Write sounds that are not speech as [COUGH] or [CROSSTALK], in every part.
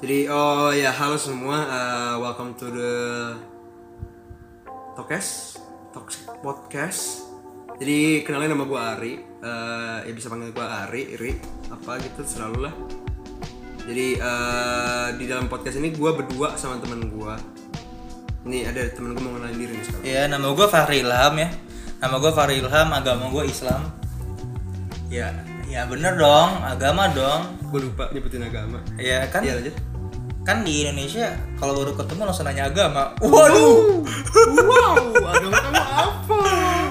Jadi oh ya halo semua, uh, welcome to the Tokes Toxic Podcast. Jadi kenalin nama gue Ari, Eh, ya bisa panggil gue Ari, Iri, apa gitu selalu lah. Jadi eh, di dalam podcast ini gue berdua sama teman gue. Nih ada teman gue mau kenalin diri nih sekarang. Ya, nama gue Fahri Ilham ya. Nama gue Fahri Ilham, agama gue Islam. Ya, ya bener dong, agama dong. Gue lupa nyebutin agama. Ya kan, Iya lanjut. kan di Indonesia kalau baru ketemu langsung nanya agama. Waduh. Wow, agama kamu apa?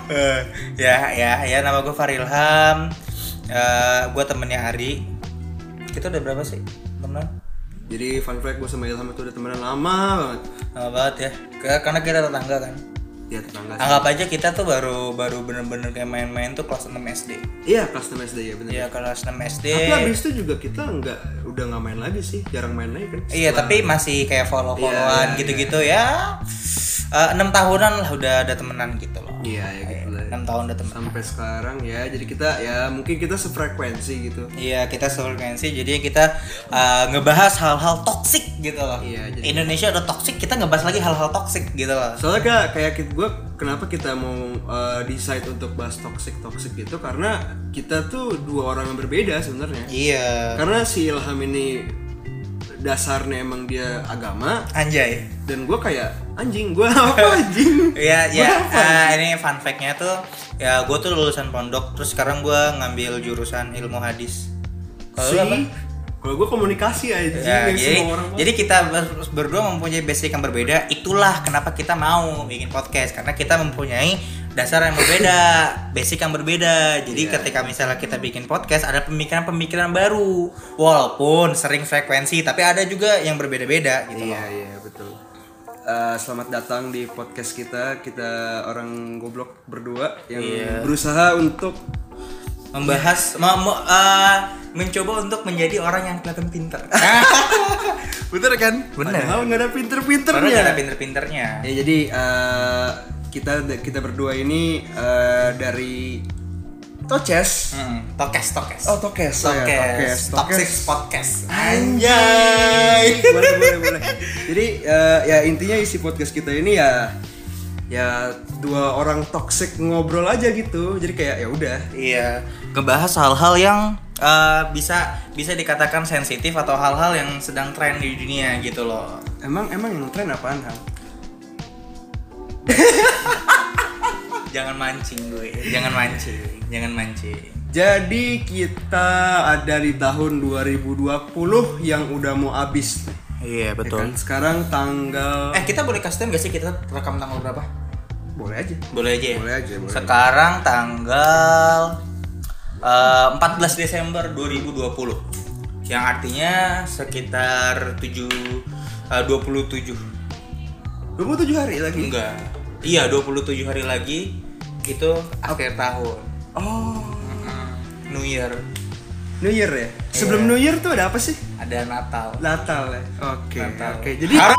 Eh, ya, ya, ya nama gue Fahri Ilham. Eh, gue temennya Ari. Kita udah berapa sih temenan? Jadi fun fact gue sama Ilham itu udah temenan lama banget. Lama banget ya. Ke- Karena kita tetangga kan. Dia tetangga. sih. Anggap aja kita tuh baru baru bener-bener kayak main-main tuh kelas 6 SD. Iya custom SD ya benar. Ya kelas 6 SD. Tapi abis itu juga kita nggak udah nggak main lagi sih, jarang main lagi Iya, kan. Iya, tapi masih kayak follow-followan gitu-gitu ya. Eh, Enam tahunan lah udah ada temenan gitu loh. Iya ya gitu lah. Enam tahun udah temen. Sampai sekarang ya, jadi kita ya mungkin kita sefrekuensi gitu. Iya, kita sefrekuensi jadi kita eh, ngebahas hal-hal toksik gitu loh. Iya, jadi- Indonesia udah toksik, kita ngebahas lagi hal-hal toksik gitu loh. Soalnya kayak kayak gue kenapa kita mau uh, decide untuk bahas toxic toxic gitu karena kita tuh dua orang yang berbeda sebenarnya. Iya. Karena si Ilham ini dasarnya emang dia agama Anjay. dan gue kayak anjing gue [LAUGHS] apa anjing Iya, ya, eh, ini fun fact-nya tuh ya gue tuh lulusan pondok terus sekarang gue ngambil jurusan ilmu hadis. Kalau si lu apa? kalau gue komunikasi aja Ya, yang jadi, semua Iya, orang jadi kita ber- berdua mempunyai basic yang berbeda. Itulah kenapa kita mau bikin podcast karena kita mempunyai dasar yang [LAUGHS] berbeda, basic yang berbeda. Jadi Iya. ketika misalnya kita bikin podcast ada pemikiran-pemikiran baru, walaupun sering frekuensi, tapi ada juga yang berbeda-beda gitu. Iya iya betul. Eh, selamat datang di podcast kita. Kita orang goblok berdua yang Iya. berusaha untuk Membahas, me- me- eh, mencoba untuk menjadi orang yang kelihatan pintar. Ah, Bener kan? Bener. padahal nggak ada Padahal pinter-pinternya. ada pinter-pinternya. Ya jadi eh, kita kita berdua ini eh, dari Toces. Mm, Tokes, tokes. Oh Tokes. oh ya, Tokes, Tokes. Tokes. toxic podcast. Anjay. [LAUGHS] boleh, boleh, boleh. Jadi eh, ya intinya isi podcast kita ini ya ya dua orang toxic ngobrol aja gitu. Jadi kayak ya udah. Iya, ngebahas hal-hal yang eh, bisa bisa dikatakan sensitif atau hal-hal yang sedang tren di dunia gitu loh. Emang emang yang tren apaan Hal? Jangan mancing gue, jangan mancing, jangan mancing. Jadi kita ada di tahun 2020 yang udah mau habis. nih, Iya ya kan? Sekarang tanggal Eh kita boleh custom gak sih kita rekam tanggal berapa? boleh aja. Boleh aja. ya? Boleh aja, boleh. Sekarang tanggal eh, 14 Desember 2020 yang artinya sekitar 7 eh, 27 27 hari lagi. Enggak. Iya, 27 hari lagi itu akhir tahun. Oh, Hmm. New Year, New Year ya. Sebelum New Year tuh ada apa sih? ada Natal. Natal ya. Oke. Natal. Oke, jadi [LAUGHS]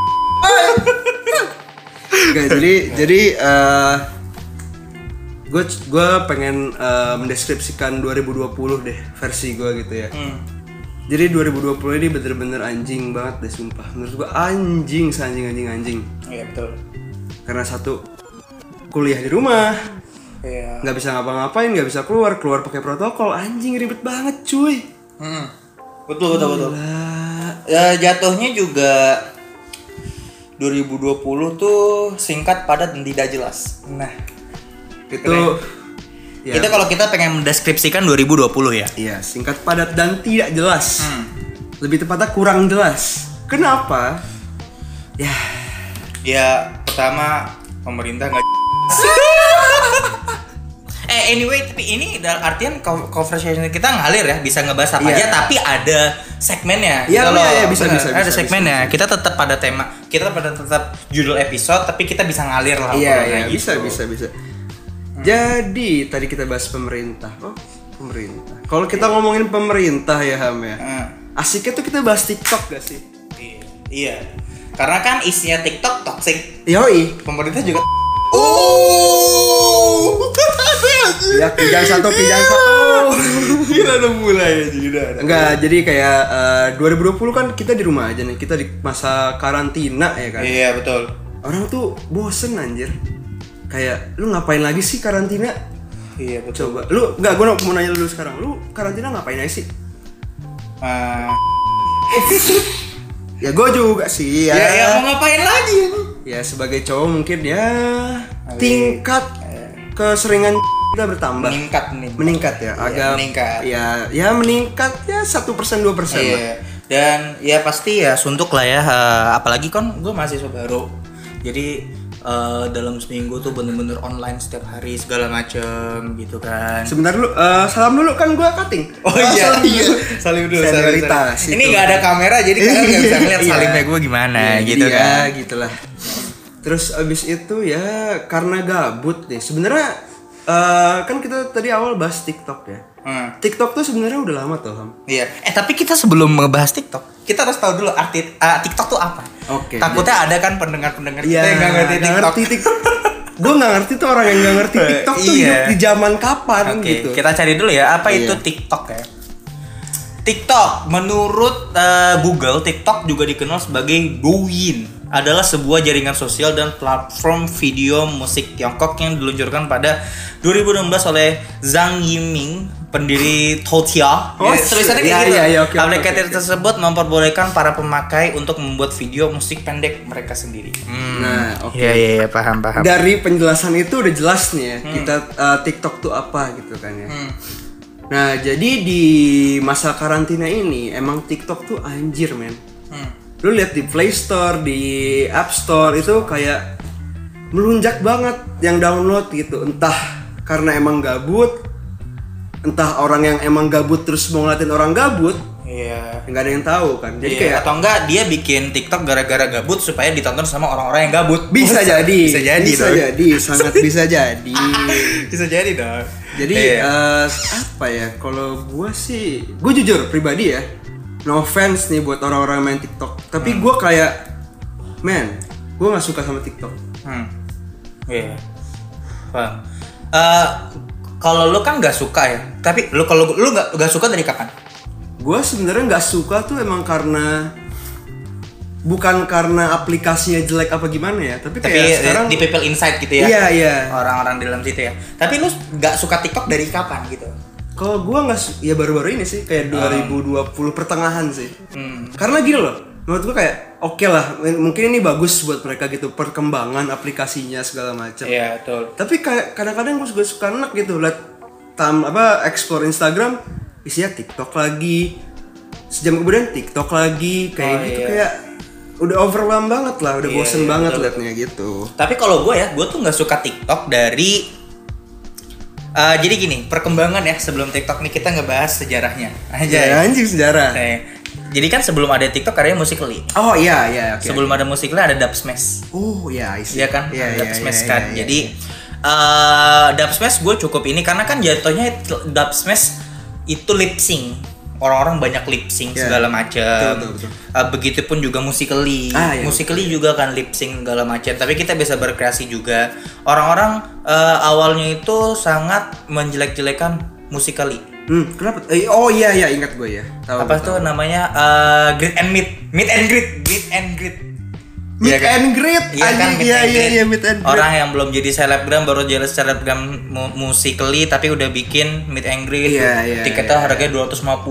Nggak, jadi jadi eh, gue gue pengen eh, mendeskripsikan 2020 deh versi gue gitu ya. Hmm. Jadi 2020 ini bener-bener anjing banget deh sumpah. Menurut gua anjing, anjing, anjing, anjing. Iya, betul. Karena satu kuliah di rumah, Iya. nggak bisa ngapa-ngapain, nggak bisa keluar, keluar pakai protokol, anjing ribet banget cuy. Hmm. Betul, betul, betul. Lah, Ya, jatuhnya juga 2020 tuh singkat padat dan tidak jelas. Nah, itu ya, itu kalau kita pengen mendeskripsikan 2020 ya. iya, singkat padat dan tidak jelas. Hmm. Lebih tepatnya kurang jelas. Kenapa? Ya, Ya, pertama pemerintah nggak [LAUGHS] Eh anyway, tapi ini dalam artian co- conversation kita ngalir ya, bisa ngebahas apa Iya. aja, tapi ada segmennya. Iya, gitu iya, loh. iya, bisa, Bener, bisa, Ada bisa, segmennya. Kita tetap pada tema, kita pada tetap judul episode, tapi kita bisa ngalir lah. iya, obrolannya iya, bisa, gitu. bisa, bisa. Jadi tadi kita bahas pemerintah. Oh, pemerintah. Kalau kita ngomongin pemerintah ya Ham ya. Nah, Asiknya tuh kita bahas TikTok gak sih? iya. Iya. Karena kan isinya TikTok toxic, Yoi. pemerintah juga. Oh. Oh. [LAUGHS] Iya, Ya, pijang satu, pijang satu. Gila udah mulai aja udah. Enggak, jadi kayak eh, 2020 kan kita di rumah aja nih, kita di masa karantina ya kan. Iya betul. Orang tuh bosen anjir. Kayak lu ngapain lagi sih karantina? Iya betul. Coba lu enggak gua mau nanya lu dulu sekarang. Lu karantina ngapain aja sih? Ah. Ya gua juga sih ya. ya, ya mau ngapain lagi? Ya, sebagai cowok mungkin ya tingkat Eh. keseringan kita bertambah. Meningkat nih. Meningkat ya, agak Iya, meningkat. Ya, ya meningkat ya 1% 2% lah. Iya. Dan ya pasti ya suntuk lah ya. eh, apalagi kan gue mahasiswa baru. Jadi eh, dalam seminggu tuh bener-bener online setiap hari segala macem gitu kan. Sebentar dulu, eh, salam dulu kan gua cutting. Oh Ah, iya, salam iya. dulu. Salim dulu. salim, Senioritas gitu. salim. Ini itu. nggak ada kamera jadi kalian nggak bisa ngeliat Iya. salimnya gue gimana Iya, gitu jadi kan. ya, gitulah. Terus abis itu ya karena gabut nih. Sebenarnya eh, kan kita tadi awal bahas TikTok ya. Hmm, TikTok tuh sebenarnya udah lama tuh, Ham. Iya. Eh tapi kita sebelum ngebahas TikTok, kita harus tahu dulu arti eh, TikTok tuh apa. Oke, Takutnya ada kan Iya, pendengar-pendengar kita yang nggak ngerti nggak TikTok. ngerti TikTok. Gue nggak ngerti tuh orang yang nggak [LAUGHS] ngerti Eh, TikTok tuh iya. hidup di zaman kapan Oke, gitu. kita cari dulu ya apa Iya. itu TikTok ya. TikTok menurut eh, Google, TikTok juga dikenal sebagai Douyin adalah sebuah jaringan sosial dan platform video musik Tiongkok yang diluncurkan pada 2016 oleh Zhang Yiming, pendiri Toutia. Oh, Ya, tulisannya iya, kayak gitu. iya, iya, oke, oke, Aplikasi oke, oke. tersebut memperbolehkan para pemakai untuk membuat video musik pendek mereka sendiri. Nah, oke. Iya, iya, iya, paham, paham. Dari penjelasan itu udah jelas nih ya, kita eh, TikTok tuh apa gitu kan ya. Hmm. Nah, jadi di masa karantina ini emang TikTok tuh anjir, men. Hmm. Lu lihat di Play Store, di App Store itu kayak melunjak banget yang download gitu. Entah karena emang gabut, entah orang yang emang gabut terus mau ngeliatin orang gabut, Iya. nggak ada yang tahu kan. Jadi Iya, kayak atau enggak dia bikin TikTok gara-gara gabut supaya ditonton sama orang-orang yang gabut. bisa jadi, Bisa jadi bisa dong. jadi, sangat bisa jadi. [LAUGHS] Bisa jadi dong. Jadi Iya. eh, apa ya? Kalau gua sih, gua jujur pribadi ya, no offense nih buat orang-orang main TikTok. Tapi Hmm. gua kayak, man, gua nggak suka sama TikTok. Hmm. Iya. Paham. Eh, kalau lu kan nggak suka ya, tapi lu kalau lu nggak nggak suka dari kapan? Gua sebenarnya nggak suka tuh emang karena bukan karena aplikasinya jelek apa gimana ya, tapi Tapi kayak eh, sekarang di People Insight gitu ya. iya iya. Orang-orang di dalam situ ya. Tapi lu nggak suka TikTok dari kapan gitu? Kalau gua nggak, su- ya baru-baru ini sih kayak 2020 pertengahan sih. Oh. Hmm. karena gini loh menurut gue kayak oke lah m- mungkin ini bagus buat mereka gitu perkembangan aplikasinya segala macam Iya, betul. tapi kayak kadang-kadang gue juga suka enak gitu liat tam apa explore Instagram isinya TikTok lagi sejam kemudian TikTok lagi kayak Oh, gitu iya. kayak udah overwhelm banget lah udah Iya, bosen iya, banget betul. liatnya gitu Tapi kalau gue ya, gue tuh nggak suka TikTok dari Eh, jadi gini perkembangan ya sebelum TikTok nih kita ngebahas sejarahnya ya, aja. anjing sejarah Jadi kan sebelum ada TikTok karya musikly. oh iya iya oke Sebelum ada musikly ada dub smash. oh iya I see. Iya kan? iya dub iya, smash iya, kan. iya, jadi iya. eh dub smash gue cukup ini karena kan jatuhnya dub smash itu lip sync. Orang-orang banyak lip sync Iya. segala macam. betul, betul. Eh, begitupun juga musikly. Ah, iya, musikly juga kan lip sync segala macam. Tapi kita bisa berkreasi juga. Orang-orang eh, awalnya itu sangat menjelek-jelekan musikly. hmm kenapa eh, oh iya iya ingat gue ya tahu apa gua, tuh tahu. namanya uh, grid and meet meet and grid meet and grid Meet and greet, Iya kan, anjing. meet Iya, and iya, greet. iya, meet and greet. Orang yang belum jadi selebgram baru jadi selebgram mu musikly tapi udah bikin meet and greet. Iya, iya, Tiketnya iya. harganya 250.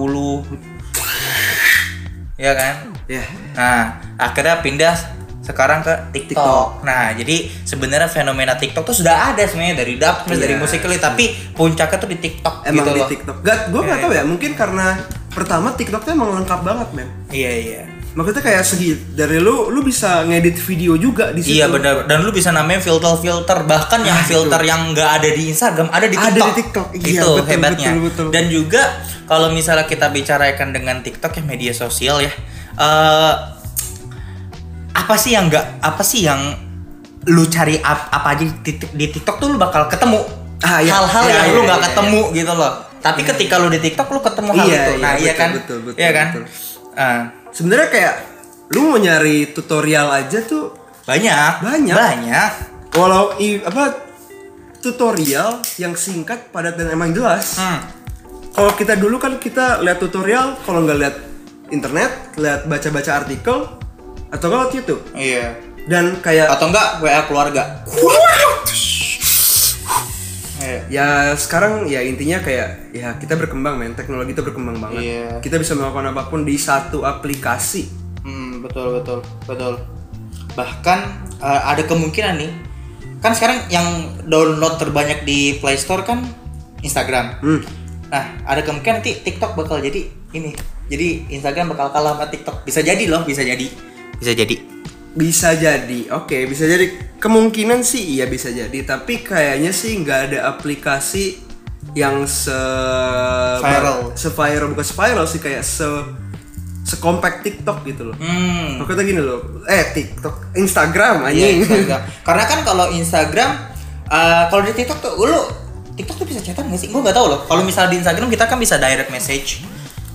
Iya kan? Ya, Nah, akhirnya pindah sekarang ke TikTok. TikTok. Nah, jadi sebenarnya fenomena TikTok tuh sudah ada sebenarnya dari dub, Iya. dari musikly, tapi puncaknya tuh di TikTok emang gitu di loh. TikTok. Gak, gue nggak Iya, tahu ya. Mungkin karena pertama TikTok tuh emang lengkap banget, men. Iya, iya. Maksudnya kayak segi dari lu, lu bisa ngedit video juga di situ. Ah, gitu. Iya benar dan lu bisa namain filter-filter bahkan yang filter yang nggak ada di Instagram ada di Ada TikTok. di TikTok, iya, Itu betul, hebatnya. betul, betul. Dan juga kalau misalnya kita bicarakan dengan TikTok ya media sosial ya. eh, apa sih yang nggak apa sih yang lu cari ap- apa aja di, Tik- di TikTok tuh lu bakal ketemu Ah, iya. hal-hal Iya, yang iya, lu iya, nggak iya, Hmm. ketemu gitu loh. Tapi ketika lu di TikTok lu ketemu Iya, hal itu. iya, Nah, iya betul, kan? betul, betul, iya kan? betul. Ah, Sebenarnya kayak lu mau nyari tutorial aja tuh, banyak. Banyak. Banyak. walau i, apa tutorial yang singkat, padat dan emang jelas. Hmm. kalau kita dulu kan kita lihat tutorial kalau nggak lihat internet lihat baca-baca artikel atau nggak lihat YouTube Iya. dan kayak Atau enggak WA keluarga. Iya. ya sekarang ya intinya kayak ya kita berkembang men teknologi itu berkembang banget Iya. kita bisa melakukan apapun di satu aplikasi Hmm, betul betul betul. Bahkan eh, ada kemungkinan nih, kan sekarang yang download terbanyak di Play Store kan Instagram. hmm. Nah, ada kemungkinan nanti TikTok bakal jadi ini. Jadi Instagram bakal kalah sama TikTok. Bisa jadi loh, bisa jadi. Bisa jadi. bisa jadi oke bisa jadi kemungkinan sih iya bisa jadi tapi kayaknya sih nggak ada aplikasi yang se Viral. se viral bukan se viral sih kayak se sekompak TikTok gitu loh Hmm. Maksudnya gini loh, eh TikTok, Instagram Iya, anjing. Instagram. Karena kan kalau Instagram eh, kalau di TikTok tuh lu TikTok tuh bisa chatan nggak sih? Gue nggak tahu loh. Kalau misalnya di Instagram kita kan bisa direct message.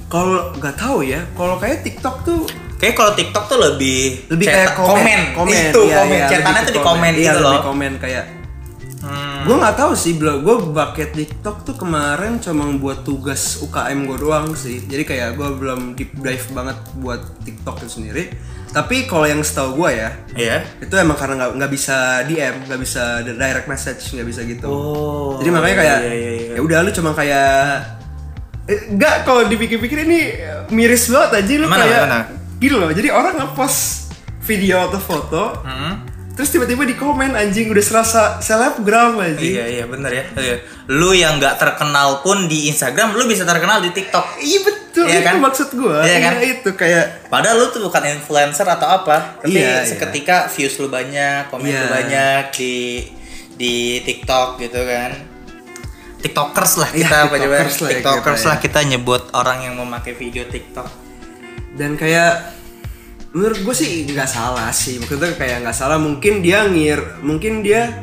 Kalau nggak tahu ya, kalau kayak TikTok tuh Kayak kalau TikTok tuh lebih lebih kayak cetak- komen, komen. itu iya, komen, iya, chatannya lebih tuh ke di komen iya, gitu lebih loh. komen kayak Hmm. gue nggak tahu sih belum gue bucket TikTok tuh kemarin cuma buat tugas UKM gue doang sih jadi kayak gue belum deep dive banget buat TikTok itu sendiri tapi kalau yang setahu gue ya Iya. itu emang karena nggak nggak bisa DM nggak bisa direct message nggak bisa gitu Oh. jadi makanya kayak Iya, iya, iya. ya udah lu cuma kayak eh, nggak kalau dipikir-pikir ini eh, miris banget aja lu Mana, kayak mana? gitu loh jadi orang ngepost video atau foto Hmm. terus tiba-tiba di komen anjing udah serasa selebgram anjing Iya iya bener ya. Iya. Lu yang nggak terkenal pun di Instagram, lu bisa terkenal di TikTok. Iya betul, Iya itu kan? maksud gua. Iya kan? itu kayak Padahal lu tuh bukan influencer atau apa, tapi Iya, iya. seketika views lu banyak, komen Iya. lu banyak di di TikTok gitu kan. Tiktokers lah Iya, kita apa coba? tiktokers lah ya Tiktokers kita ya. lah kita nyebut orang yang memakai video TikTok. dan kayak menurut gua sih nggak salah sih. Maksudnya kayak nggak salah mungkin dia ngir, mungkin dia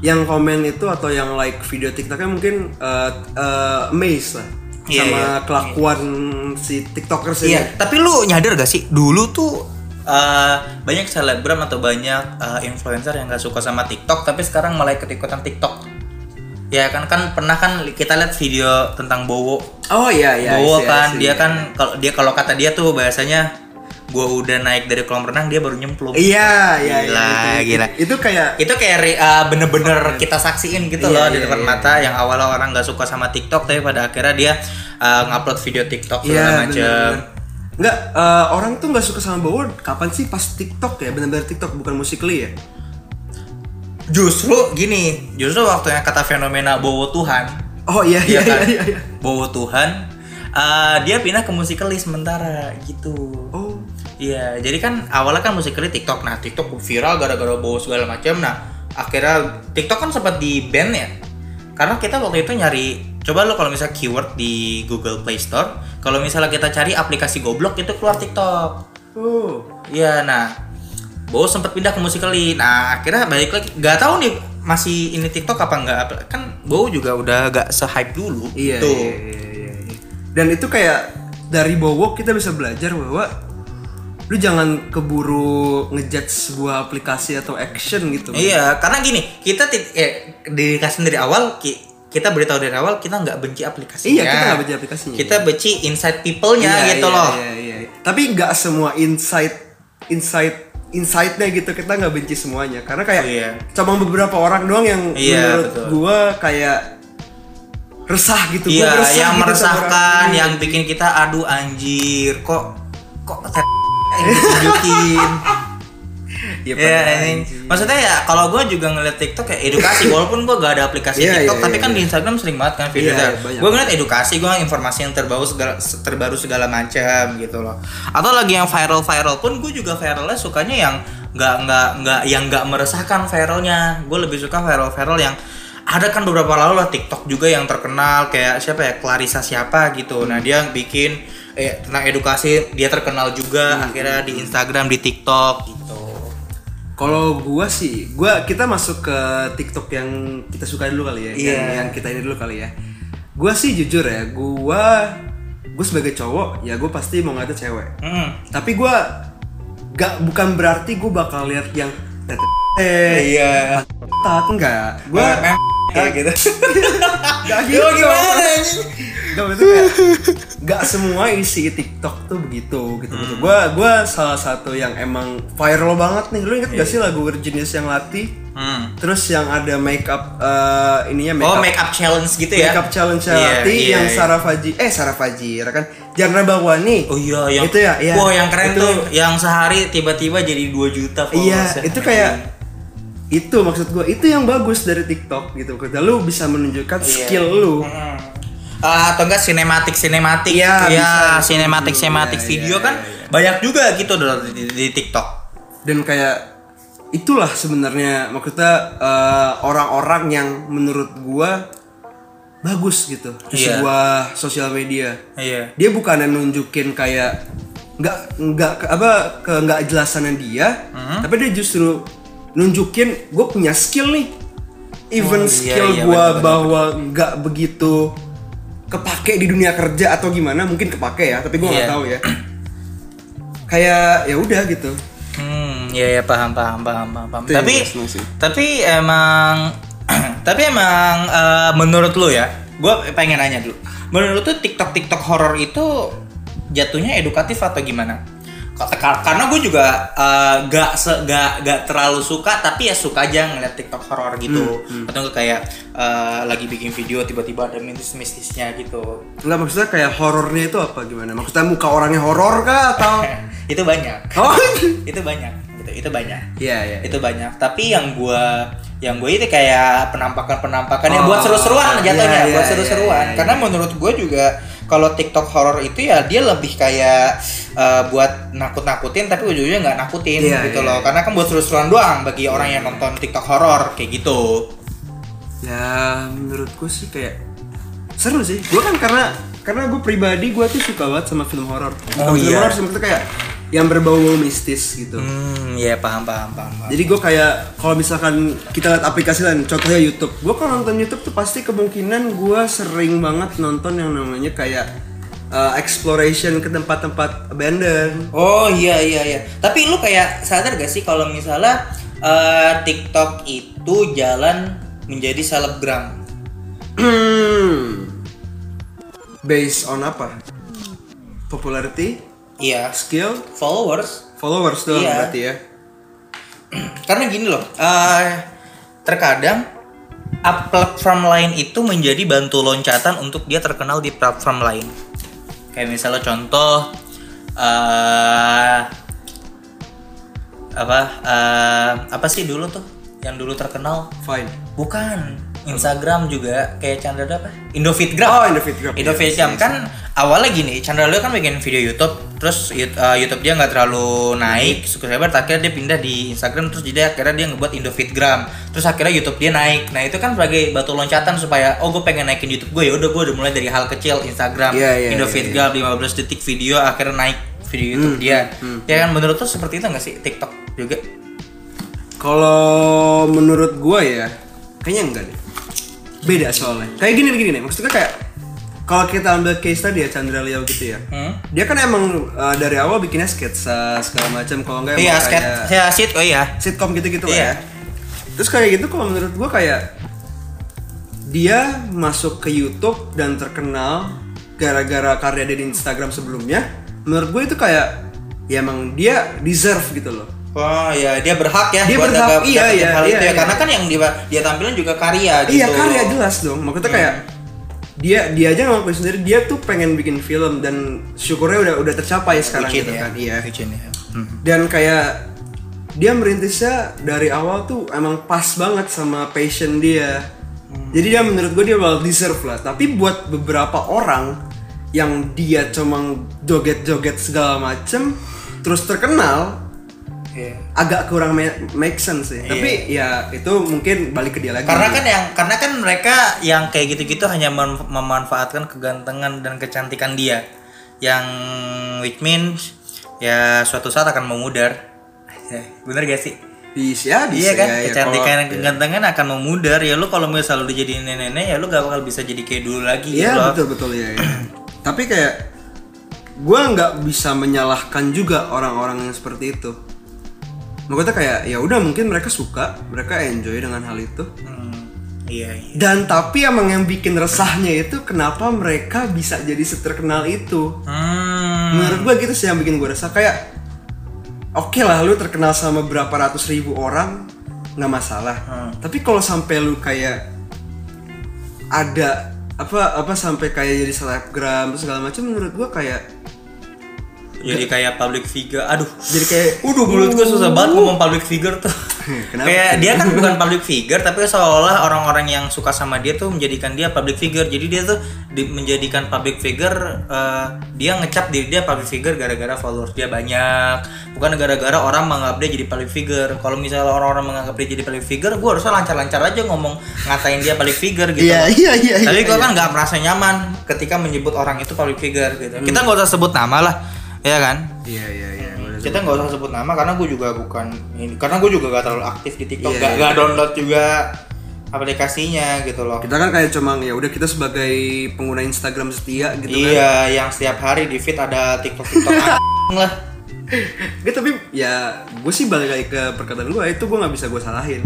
yang komen itu atau yang like video TikToknya mungkin eh eh, amazed lah Iya, sama iya. kelakuan si TikTokers ini. Iya, tapi lu nyadar gak sih dulu tuh eh, banyak selebgram atau banyak eh, influencer yang gak suka sama TikTok tapi sekarang malah ikut-ikutan TikTok. Ya kan kan pernah kan kita lihat video tentang Bowo Oh iya iya. Bowo iya, kan iya, dia iya. kan kalau dia kalau kata dia tuh bahasanya gua udah naik dari kolam renang dia baru nyemplung. Iya iya. iya, Gila, itu- itu- gila. Itu kayak Itu kayak re- uh, bener-bener kita saksiin gitu Iya, loh di iya, depan iya. mata yang awalnya orang nggak suka sama TikTok tapi pada akhirnya dia uh, ngupload video TikTok iya, segala macam. bener-bener. Nggak, eh, orang tuh nggak suka sama Bowo kapan sih pas TikTok ya benar-benar TikTok bukan musically ya? Justru gini, justru waktunya kata fenomena Bowo Tuhan, Oh iya iya Iya kan? iya iya. Bowo Tuhan, uh, dia pindah ke musikali sementara gitu. Oh, Iya, jadi kan awalnya kan musikally TikTok. Nah, TikTok viral gara-gara bau segala macam. Nah, akhirnya TikTok kan sempat di ban ya. Karena kita waktu itu nyari coba lo kalau misalnya keyword di Google Play Store, kalau misalnya kita cari aplikasi goblok itu keluar TikTok. oh. Iya, nah. Bau sempat pindah ke musikally. Nah, akhirnya balik lagi. Gak tahu nih masih ini TikTok apa enggak kan Bau juga udah gak se-hype dulu Iya, gitu. Tuh. iya, iya, iya, iya. Dan itu kayak dari Bowo kita bisa belajar bahwa lu jangan keburu ngejudge sebuah aplikasi atau action gitu. Iya, karena gini, kita ti- eh, dikasih dari awal, ki- kita beritahu dari awal kita nggak benci Iya, aplikasinya. kita nggak benci aplikasinya. Kita benci insight people-nya Iya, gitu iya, loh. Iya, iya. Tapi nggak semua insight insight insightnya gitu kita nggak benci semuanya karena kayak Iya. cuma beberapa orang doang yang Iya, menurut betul. gua kayak resah gitu Iya, Gua resah yang gitu sama meresahkan, orang ini. yang bikin kita aduh anjir, kok kok [LAUGHS] ter- yang ditunjukin. Iya, Iya, pernah, anjing. anjing. maksudnya ya kalau gue juga ngeliat TikTok ya [LAUGHS] edukasi walaupun gue gak ada aplikasi Iya, TikTok iya, tapi iya, kan di Instagram sering banget kan video Iya, nya. iya, banyak. gue ngeliat edukasi gue informasi yang terbaru segala terbaru segala macam gitu loh atau lagi yang viral viral pun gue juga viralnya sukanya yang nggak nggak nggak yang nggak meresahkan viralnya gue lebih suka viral viral yang ada kan beberapa lalu lah TikTok juga yang terkenal kayak siapa ya Clarissa siapa gitu Hmm. nah dia bikin eh, tentang edukasi dia terkenal Hmm. juga akhirnya di Instagram di TikTok gitu Kalau gua sih, gua kita masuk ke TikTok yang kita suka dulu kali ya, Iya. yang, yang kita ini dulu kali ya. Gua sih jujur ya, gua gua sebagai cowok ya gua pasti mau ngeliatnya cewek. Hmm. Tapi gua gak bukan berarti gua bakal lihat yang tete- eh Iya. tak enggak. Gua Gua kayak gitu Ah. [LAUGHS] Gak gitu Yo [LAUGHS] gimana anjing? Gak maksudnya kayak, Gak semua isi TikTok tuh begitu gitu Hmm. gitu. Gua gua salah satu yang emang viral banget nih. Lu inget Iya. gak sih lagu Virginius yang latih? Hmm. Terus yang ada makeup eh, ininya makeup Oh, make up challenge gitu ya. makeup challenge yang Iya, latih iya, yang iya. Sarah Faji eh Sarah Faji kan Jandra Bawani. Oh iya, yang itu ya. Iya. Wah, yang Itu- keren tuh yang sehari tiba-tiba jadi 2 juta ya. Iya, itu kayak itu maksud gua itu yang bagus dari TikTok gitu. Karena lu bisa Iya. menunjukkan skill lu. Hmm. Ah, atau enggak sinematik sinematik Iya, bisa. sinematik sinematik Iya, video iya, kan iya, iya. banyak juga gitu loh di, di- di TikTok dan kayak itulah sebenarnya maksudnya eh, orang-orang yang menurut gua bagus gitu di Iya. sebuah sosial media iya dia bukan nunjukin kayak nggak nggak ke- apa ke nggak jelasannya dia Mm-hmm. tapi dia justru nunjukin gue punya skill nih even Oh, iya, skill iya, gua benar-benar. bahwa nggak begitu kepake di dunia kerja atau gimana mungkin kepake ya tapi gua nggak Iya. tahu ya kayak ya udah gitu hmm iya iya paham paham paham paham, paham. Itu yang tapi gua seneng sih. tapi emang [CLEARS THROAT] tapi emang eh, menurut lu ya gue pengen nanya dulu menurut tuh TikTok TikTok horor itu jatuhnya edukatif atau gimana Ka- ka- karena gue juga eh, gak, se- gak, gak terlalu suka tapi ya suka aja ngeliat TikTok horor gitu Hmm, atau nggak kayak eh, lagi bikin video tiba-tiba ada mistis-mistisnya gitu [LAUGHS] Enggak maksudnya kayak horornya itu apa gimana? Maksudnya muka orangnya horor kah atau itu banyak Oh. [LAUGHS] itu banyak gitu itu banyak Iya, iya. itu banyak tapi yang gua yang gue itu kayak penampakan penampakan yang buat Oh, seru-seruan iya, jatuhnya iya, buat iya, seru-seruan iya, iya. karena menurut gue juga kalau TikTok horor itu ya dia lebih kayak eh, buat nakut-nakutin tapi ujungnya nggak nakutin Iya, gitu iya, loh iya. karena kan buat seru-seruan doang bagi orang yang nonton TikTok horor kayak gitu Ya menurutku sih kayak seru sih. Gua kan karena karena gue pribadi gue tuh suka banget sama film horor. Bukan Oh, Film iya. horor sih, maksudnya kayak yang berbau mistis gitu. hmm ya paham paham paham, paham. Jadi gue kayak kalau misalkan kita lihat aplikasi lain, contohnya YouTube. Gue kalau nonton YouTube tuh pasti kemungkinan gue sering banget nonton yang namanya kayak uh, exploration ke tempat-tempat abandon. Oh iya iya iya. Tapi lu kayak sadar gak sih kalau misalnya eh, TikTok itu jalan menjadi selebgram? [CLEARS THROAT] Based on apa? Popularity, Iya. skill, Followers. followers doang Iya. berarti ya. Karena gini loh. eh, terkadang up- platform lain itu menjadi bantu loncatan untuk dia terkenal di platform lain. Kayak misalnya contoh eh apa eh, apa sih dulu tuh yang dulu terkenal Fine. Bukan. Instagram juga kayak Chandra apa? Indofitgram. Oh, Indofitgram. Indofitgram kan awalnya gini, Chandra Leo kan bikin video YouTube, terus Yut- uh, YouTube dia nggak terlalu naik, subscriber akhirnya dia pindah di Instagram terus jadi akhirnya dia ngebuat Indofitgram. Terus akhirnya YouTube dia naik. Nah, itu kan sebagai batu loncatan supaya oh gue pengen naikin YouTube gue ya udah gue udah mulai dari hal kecil Instagram, Iya, iya, Hmm, Indofitgram 15 detik video akhirnya naik video YouTube dia. Ya kan menurut tuh seperti itu nggak sih TikTok juga? Kalau menurut gua ya, kayaknya enggak deh. Beda soalnya. Kayak gini gini nih, maksudnya kayak kalau kita ambil case tadi ya Chandra Leo gitu ya. Hmm? Dia kan emang uh, dari awal bikinnya sketsa segala macam kalau enggak Iya, emang sket, kayak ya, shit, oh iya. sitkom gitu-gitu lah Iya. ya. Terus kayak gitu kalau menurut gua kayak dia masuk ke YouTube dan terkenal gara-gara karya dia di Instagram sebelumnya. Menurut gue itu kayak ya emang dia deserve gitu loh. Wah ya dia berhak ya Dia buat berhak, dapat- iya, dapetin iya, hal iya, itu ya iya. karena kan yang dia dia tampilin juga karya gitu. Iya karya jelas dong. Iya. Maksudnya kayak dia dia aja ngakuin sendiri dia tuh pengen bikin film dan syukurnya udah udah tercapai sekarang Bucin gitu ya. kan. Iya. Bucin ya. Hmm. Dan kayak dia merintisnya dari awal tuh emang pas banget sama passion dia. Hmm. Jadi dia menurut gue dia well deserve lah. Tapi buat beberapa orang yang dia cuma joget-joget segala macem terus terkenal Iya. agak kurang ma- make sense sih. Tapi ya itu mungkin balik ke dia lagi. Karena kan yang karena kan mereka yang kayak gitu-gitu hanya mem- memanfaatkan kegantengan dan kecantikan dia. Yang which means ya suatu saat akan memudar. Ya, Bener gak sih? bisa bisa Iya kan, ya, ya. kecantikan Kalau- dan kegantengan akan memudar ya lu kalau misalnya lu jadi nenek-nenek ya lu gak bakal bisa jadi kayak dulu lagi Iya gitu loh. betul betul ya. ya. [CLEARS THROAT] Tapi kayak gue nggak bisa menyalahkan juga orang-orang yang seperti itu. Maksudnya kayak ya udah mungkin mereka suka, mereka enjoy dengan hal itu. Hmm. Iya, iya. Dan tapi emang yang bikin resahnya itu kenapa mereka bisa jadi seterkenal itu. Hmm. Menurut gua gitu sih yang bikin gua resah kayak oke lah lu terkenal sama berapa ratus ribu orang nggak masalah. Tapi kalau sampai lu kayak ada apa apa sampai kayak jadi selebgram terus segala macam menurut gua kayak Jadi kayak public figure. Aduh. jadi kayak Waduh, mulut gue susah banget ngomong public figure tuh. [LAUGHS] Kenapa? Kayak dia kan bukan public figure, tapi seolah orang-orang yang suka sama dia tuh menjadikan dia public figure. Jadi dia tuh di- menjadikan public figure, eh, dia ngecap diri dia public figure gara-gara followers dia banyak. Bukan gara-gara orang menganggap dia jadi public figure. Kalau misalnya orang-orang menganggap dia jadi public figure, gue harusnya lancar-lancar aja ngomong ngatain dia public figure gitu. Iya, loh. iya, iya, iya, Tapi gue iya. kan nggak merasa nyaman ketika menyebut orang itu public figure gitu. Kita nggak usah sebut nama lah, ya kan? iya iya iya gua- kita nggak usah sebut nama karena gue juga bukan ini karena gue juga gak terlalu aktif di TikTok Iya, gak, iya. gak download juga aplikasinya gitu loh kita kan kayak cuma ya udah kita sebagai pengguna Instagram setia gitu kan iya yang setiap hari di feed ada TikTok [LAUGHS] TikTok lah Gue tapi ya gue sih balik lagi ke perkataan gue itu gue nggak bisa gue salahin.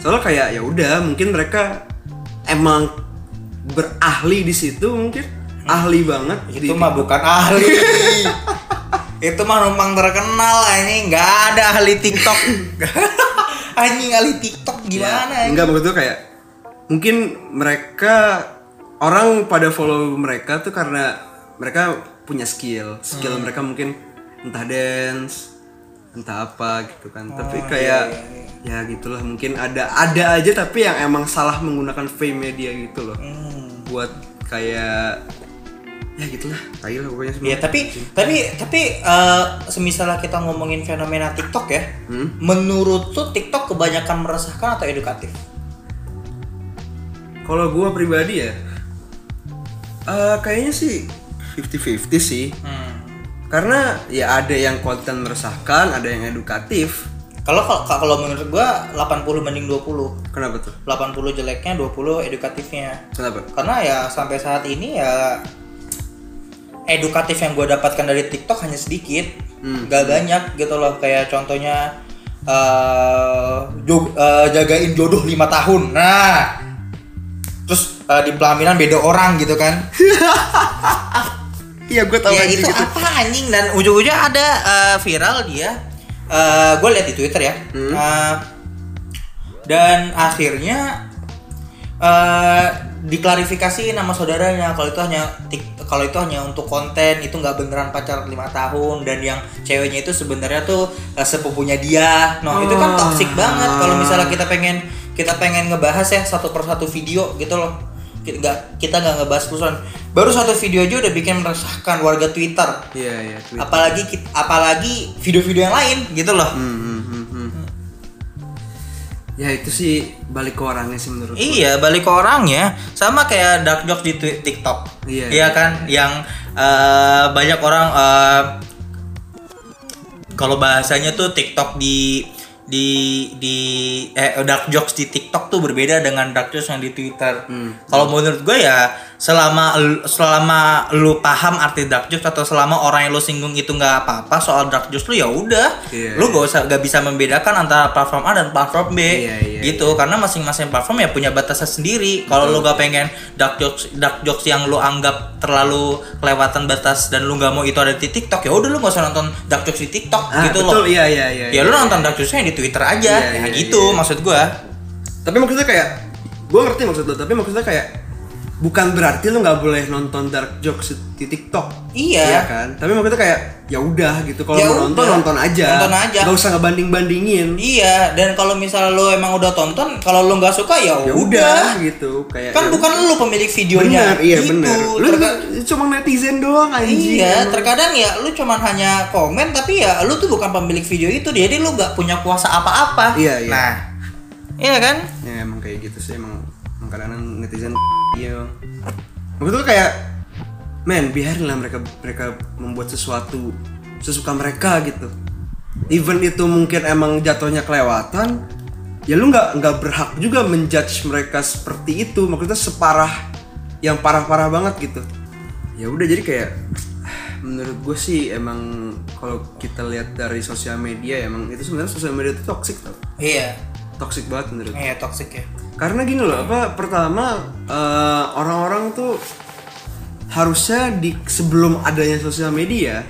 Soalnya kayak ya udah mungkin mereka emang berahli di situ mungkin ahli banget itu di- mah bukan ahli [LAUGHS] itu mah numpang terkenal ini nggak ada ahli [LAUGHS] TikTok anjing ahli TikTok gimana eh? Ya, anjing? enggak maksud gue kayak mungkin mereka orang pada follow mereka tuh karena mereka punya skill skill mereka mungkin entah dance entah apa gitu kan tapi kayak ya gitulah mungkin ada ada aja tapi yang emang salah menggunakan fame dia gitu loh buat kayak ya gitulah tai lah pokoknya semua Ya tapi tapi tapi eh, semisalnya kita ngomongin fenomena TikTok ya, menurut tuh TikTok kebanyakan meresahkan atau edukatif? kalau gue pribadi ya eh, kayaknya sih 50-50 sih karena ya ada yang konten meresahkan ada yang edukatif Kalau kalau- kalau menurut gua 80 banding 20. kenapa tuh 80 jeleknya, 20 edukatifnya. kenapa Karena ya sampai saat ini ya edukatif yang gue dapatkan dari TikTok hanya sedikit, gak banyak gitu loh. Kayak contohnya eh, jog- eh, jagain jodoh lima tahun. Nah, terus eh, di pelaminan beda orang gitu kan? iya gue ya itu apa anjing dan ujung-ujungnya ada eh, viral dia gue lihat di twitter ya Eh, dan akhirnya eh diklarifikasi nama saudaranya kalau itu hanya tik- kalau itu hanya untuk konten itu nggak beneran pacar lima tahun dan yang ceweknya itu sebenarnya tuh eh, sepupunya dia nah itu kan toksik banget kalau misalnya kita pengen kita pengen ngebahas ya satu persatu video gitu loh kita nggak kita nggak ngebahas keseluruhan baru satu video aja udah bikin meresahkan warga Twitter iya iya tweet. apalagi kit- apalagi video-video yang lain gitu loh Hmm, hmm, hmm, hmm. ya itu sih balik ke orangnya sih menurut gua. Iya, balik ke orangnya sama kayak dark joke di Twi- TikTok. Iya. kan yang eh, banyak orang eh, kalau bahasanya tuh TikTok di di di eh, dark jokes di TikTok tuh berbeda dengan dark jokes yang di Twitter. Hmm. Kalau menurut gue ya selama lu- selama lu paham arti dark jokes atau selama orang yang lu singgung itu nggak apa-apa soal dark jokes lu ya udah, Iya, lu gak usah gak bisa membedakan antara platform A dan platform B Iya, iya, gitu karena masing-masing platform ya punya batasnya sendiri kalau lu gak pengen dark jokes dark jokes yang lu anggap terlalu kelewatan batas dan lu gak mau itu ada di TikTok ya udah lu gak usah nonton dark jokes di TikTok ah, gitu betul loh iya iya iya ya lu nonton dark jokesnya di Twitter aja Iya, ya iya, gitu iya. maksud gua tapi maksudnya kayak gue ngerti maksud lo tapi maksudnya kayak bukan berarti lo nggak boleh nonton dark jokes di TikTok Iya. iya kan tapi maksudnya kayak ya udah gitu kalau Ya mau nonton udah. nonton aja Nonton aja. nggak usah ngebanding bandingin iya dan kalau misalnya lu emang udah tonton kalau lu nggak suka ya ya udah udah gitu kayak ya kan bukan lu pemilik benar videonya iya gitu. benar lu Terga- cuma netizen doang anjing Iya, terkadang ya lu cuman hanya komen tapi ya lu tuh bukan pemilik video itu, jadi lu gak punya kuasa apa-apa. Iya, iya. Nah, iya kan? ya emang kayak gitu sih emang emang kadang netizen iya Bang. maksud gue kayak men biarinlah mereka mereka membuat sesuatu sesuka mereka gitu even itu mungkin emang jatuhnya kelewatan ya lu nggak nggak berhak juga menjudge mereka seperti itu maksudnya separah yang parah-parah banget gitu ya udah jadi kayak menurut gue sih emang kalau kita lihat dari sosial media emang itu sebenarnya sosial media itu toxic tau Iya. toxic banget menurut gue. Iya, toxic ya. karena gini loh apa pertama eh, orang-orang tuh harusnya di sebelum adanya sosial media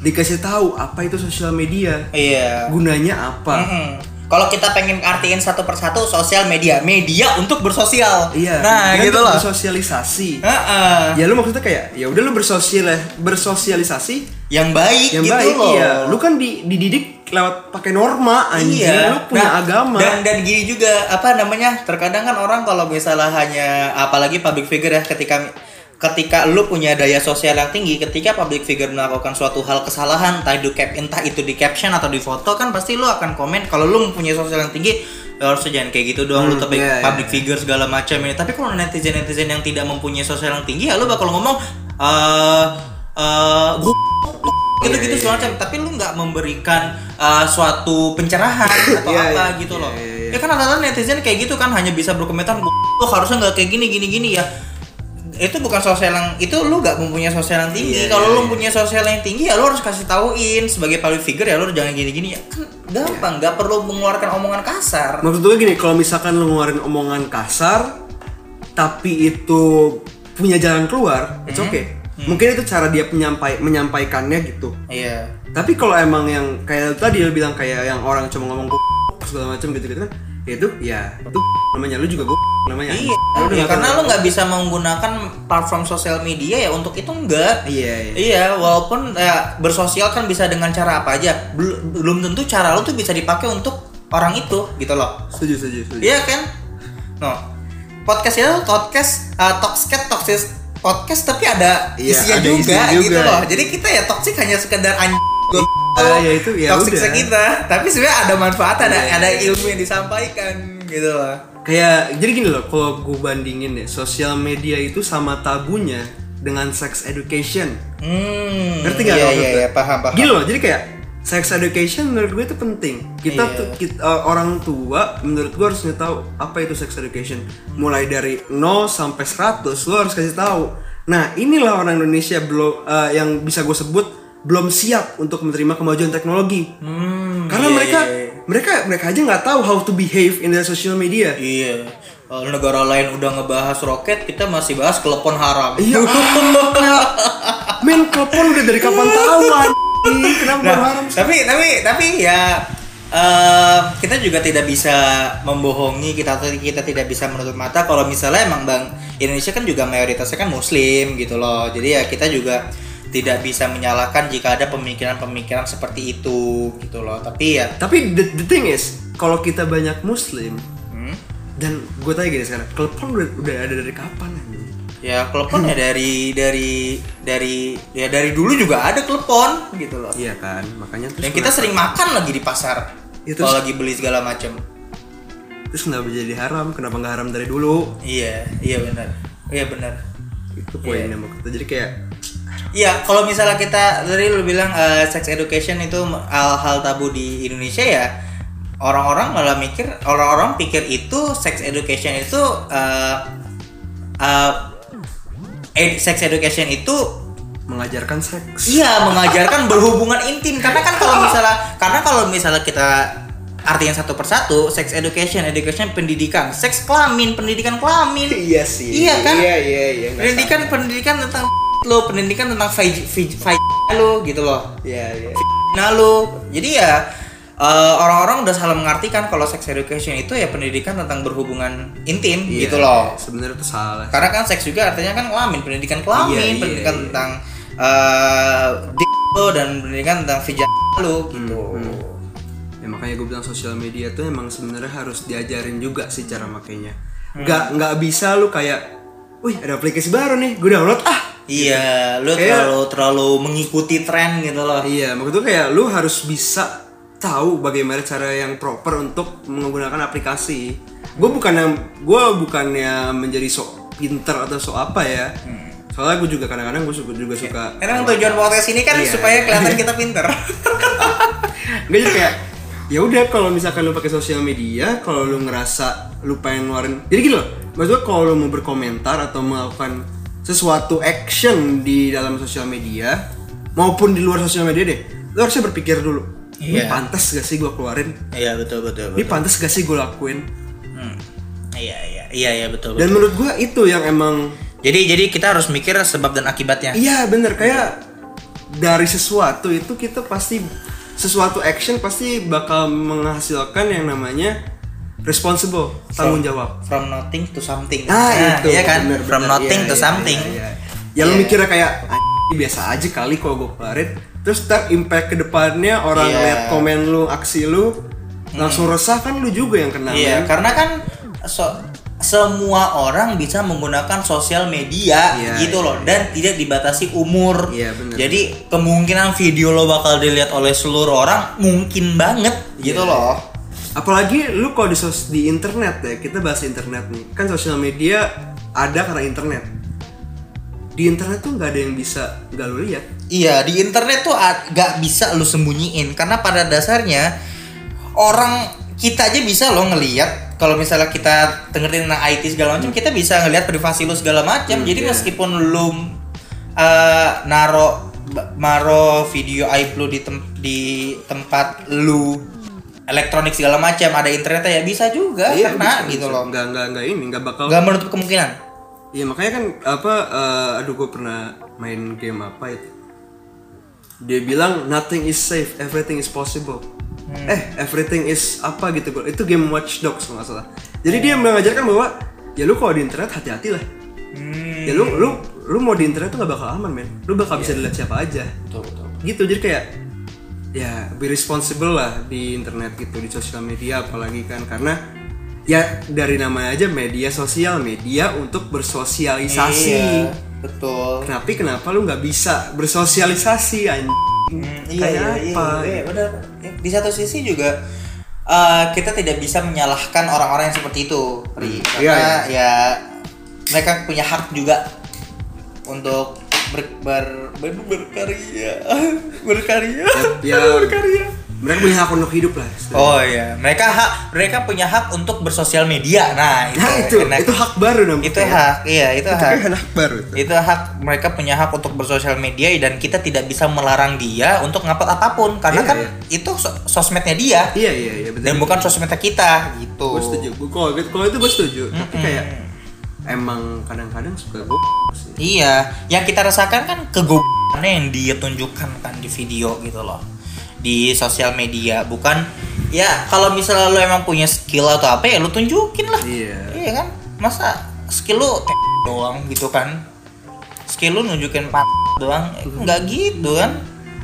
dikasih tahu apa itu sosial media Iya. gunanya apa Mm-mm. Kalau kita pengen artiin satu persatu sosial media, media untuk bersosial. iya Nah, dia gitu tuh loh. bersosialisasi Heeh. ya lu maksudnya kayak ya udah lu bersosial bersosialisasi Yang baik yang gitu baik loh. iya lu kan di- dididik lewat pakai norma anjir lu punya Nah, agama Dan dan gini juga apa namanya? Terkadang kan orang kalau misalnya hanya apalagi public figure ya ketika ketika lu punya daya sosial yang tinggi ketika public figure melakukan suatu hal kesalahan entah itu cap entah itu di caption atau di foto kan pasti lu akan komen kalau lu mempunyai sosial yang tinggi "Ya harusnya jangan kayak gitu doang lu Hmm, tapi iya, iya, public figure segala macam ini tapi kalau netizen netizen yang tidak mempunyai sosial yang tinggi ya lu bakal ngomong eh eh gua gitu-gitu Iya, iya, segala macam tapi lu nggak memberikan eh, suatu [LAUGHS] pencerahan atau Iya, apa iya. gitu loh Iya, iya, ya kan rata-rata netizen kayak gitu kan hanya bisa berkomentar lo harusnya nggak kayak gini gini gini ya itu bukan sosial yang itu lu nggak mempunyai sosial yang tinggi Iya, kalau iya, lu iya. punya sosial yang tinggi ya lu harus kasih tauin sebagai public figure ya lu jangan gini gini ya kan gampang Iya. nggak perlu mengeluarkan omongan kasar Maksud gue gini, kalau misalkan lu ngeluarin omongan kasar, tapi itu punya jalan keluar, it's okay. Mm-hmm. Mungkin itu cara dia menyampai menyampaikannya gitu. iya Tapi kalau emang yang kayak tadi lu bilang kayak yang orang cuma ngomong "Gua segala macam gitu-gitu kan, ya itu ya itu namanya lu juga gue namanya. Iya, Lu kan? udah iya, nggak karena tahu. lu nggak bisa menggunakan platform sosial media ya untuk itu enggak. Iya, iya. Iya, walaupun ya, bersosial kan bisa dengan cara apa aja. Bel- belum tentu cara lu tuh bisa dipakai untuk orang itu gitu loh. Setuju, setuju, setuju. Iya kan? No. Podcast itu podcast uh, toxic toxic podcast tapi ada Iya, isinya ada juga, isinya gitu juga. loh. Jadi kita ya toxic hanya sekedar anjing Ah, ya itu, ya toxic udah. kita, tapi sebenarnya ada manfaat, ada Iya. ada ilmu yang disampaikan gitu loh. Kayak jadi gini loh, kalau gue bandingin ya, sosial media itu sama tabunya dengan sex education. Hmm. Ngerti gak Iya, maksud iya, gue? iya, paham, paham. Gini loh, jadi kayak sex education menurut gue itu penting. Kita Iya. tuh kit- eh, orang tua menurut gue harusnya tahu apa itu sex education. Mulai dari 0 sampai 100 lo harus kasih tahu. Nah, inilah orang Indonesia belum eh, yang bisa gue sebut belum siap untuk menerima kemajuan teknologi. Karena iya, mereka iya, mereka mereka aja nggak tahu how to behave in the social media. Iya. Kalau negara lain udah ngebahas roket, kita masih bahas telepon haram. Iya, ah, men telepon udah dari Iya. kapan tahu anjing? Nah, Kenapa baru haram sih? tapi tapi tapi ya eh, kita juga tidak bisa membohongi kita kita tidak bisa menutup mata kalau misalnya emang bang Indonesia kan juga mayoritasnya kan Muslim gitu loh jadi ya kita juga tidak bisa menyalahkan jika ada pemikiran-pemikiran seperti itu gitu loh tapi ya Tapi the, the thing is, kalau kita banyak muslim hmm, dan gue tanya gini sekarang, klepon udah, udah ada dari kapan anjing? ya klepon ya dari dari dari ya dari dulu juga ada klepon gitu loh Iya kan, makanya terus dan kita kenapa- sering makan lagi di pasar Ya, terus- kalau lagi beli segala macam terus kenapa jadi haram? Kenapa nggak haram dari dulu? iya iya benar iya benar Itu poinnya mau kita. Jadi kayak Iya, kalau misalnya kita dari lu bilang eh, sex education itu hal-hal tabu di Indonesia ya orang-orang malah mikir orang-orang pikir itu sex education itu eh eh, ed- sex education itu mengajarkan seks. Iya mengajarkan berhubungan intim karena kan kalau misalnya karena kalau misalnya kita artinya satu persatu sex education education pendidikan seks kelamin pendidikan kelamin [LAUGHS] Iya sih. Iya kan? Iya iya iya. nggak pendidikan salah. pendidikan tentang lo pendidikan tentang vagi- vagi- vagina lo gitu loh Iya iya. nah lo jadi ya eh, orang-orang udah salah mengartikan kalau sex education itu ya pendidikan tentang berhubungan intim Iya, gitu loh Sebenarnya itu salah. karena kan seks juga artinya kan kelamin pendidikan kelamin Iya, iya, pendidikan iya. tentang eh dick lo dan pendidikan tentang vijay lo Hmm, gitu Ya, makanya gue bilang sosial media tuh emang sebenarnya harus diajarin juga sih cara makainya. Nggak nggak bisa lu kayak, wih ada aplikasi baru nih, gue download ah. iya lo Kayak- terlalu terlalu mengikuti tren gitu loh Iya, maksud gue kayak lu harus bisa tahu bagaimana cara yang proper untuk menggunakan aplikasi. Gue bukan yang gue bukannya menjadi sok pinter atau sok apa ya. Soalnya gue juga kadang-kadang gue suka juga suka. Emang tujuan podcast ini kan Iya. supaya kelihatan kita [LAUGHS] pinter. Gue jadi kayak ya udah kalau misalkan lu pakai sosial media, kalau lu ngerasa lu pengen ngeluarin. Jadi gini loh, maksud gue kalau lu mau berkomentar atau melakukan sesuatu action di dalam sosial media maupun di luar sosial media deh, lu harusnya berpikir dulu. ini Iya. pantas gak sih gue keluarin Iya betul betul. ini betul. pantas gak sih gue lakuin Hmm. Iya iya iya iya betul. dan betul. menurut gue itu yang emang Jadi jadi kita harus mikir sebab dan akibatnya. Iya bener kayak dari sesuatu itu kita pasti sesuatu action pasti bakal menghasilkan yang namanya responsible tanggung jawab. From nothing to something. Nah, itu Iya kan. bener, From bener. nothing Iya, to iya, something. Iya, iya. Ya lu Iya. mikirnya kayak "Ah, biasa aja kali kalau gue keluarin terus ntar impact kedepannya orang Iya. lihat komen lu aksi lu langsung resah kan lu juga yang kena kan? Iya, karena kan so- semua orang bisa menggunakan sosial media Iya, gitu iya, loh dan tidak dibatasi umur. Iya, bener. Jadi kemungkinan video lo bakal dilihat oleh seluruh orang mungkin banget Iya. gitu loh. apalagi lu kalau di sos- di internet ya kita bahas internet nih kan sosial media ada karena internet di internet tuh nggak ada yang bisa nggak lu lihat Iya, di internet tuh a- gak bisa lu sembunyiin karena pada dasarnya orang kita aja bisa lo ngeliat kalau misalnya kita dengerin tentang IT segala macam, kita bisa ngelihat privasi lu segala macam. Jadi iya. meskipun lu eh, naro ba- maro video aib lu di tem- di tempat lu elektronik segala macam ada internetnya ya bisa juga Iya, karena bisa, gitu bisa. loh nggak nggak nggak ini nggak bakal nggak menutup kemungkinan Iya makanya kan apa eh, aduh gue pernah main game apa itu dia bilang nothing is safe everything is possible eh everything is apa gitu gua- itu game Watch Dogs kalau nggak salah jadi dia mengajarkan bahwa ya lu kalau di internet hati-hati lah ya lu lu lu mau di internet tuh nggak bakal aman men lu bakal bisa dilihat siapa aja betul betul gitu jadi kayak ya be responsible lah di internet gitu di sosial media apalagi kan karena ya dari namanya aja media sosial media untuk bersosialisasi iya, betul tapi kenapa lu nggak bisa bersosialisasi anjing Hmm, Kayak apa? iya, benar. Ya, Di satu sisi juga eh, kita tidak bisa menyalahkan orang-orang yang seperti itu, Ri. Iya, Karena ya mereka punya hak juga untuk ber- ber- ber- berkarya, [LAUGHS] berkarya, ya [LAUGHS] berkarya. mereka punya hak untuk hidup lah Oh iya, mereka hak mereka punya hak untuk bersosial media. Nah, itu nah itu Karena- itu hak baru namanya itu hak, iya itu, itu hak. kayak hak baru tuh. Itu hak mereka punya hak untuk bersosial media dan kita tidak bisa melarang dia untuk ngupload apapun karena Iya, kan iya. itu so- sosmednya dia iya iya iya betul dan bukan sosmednya kita gitu. gue setuju gue kalau kalau itu gue setuju tapi kayak emang kadang-kadang suka gue sih Iya, yang kita rasakan kan kegobannya yang dia tunjukkan kan di video gitu loh di sosial media bukan ya kalau misalnya lo emang punya skill atau apa ya lo tunjukin lah Iya. iya kan masa skill lo [LAUGHS] doang gitu kan skill lo nunjukin [LAUGHS] pan doang Eh, nggak gitu kan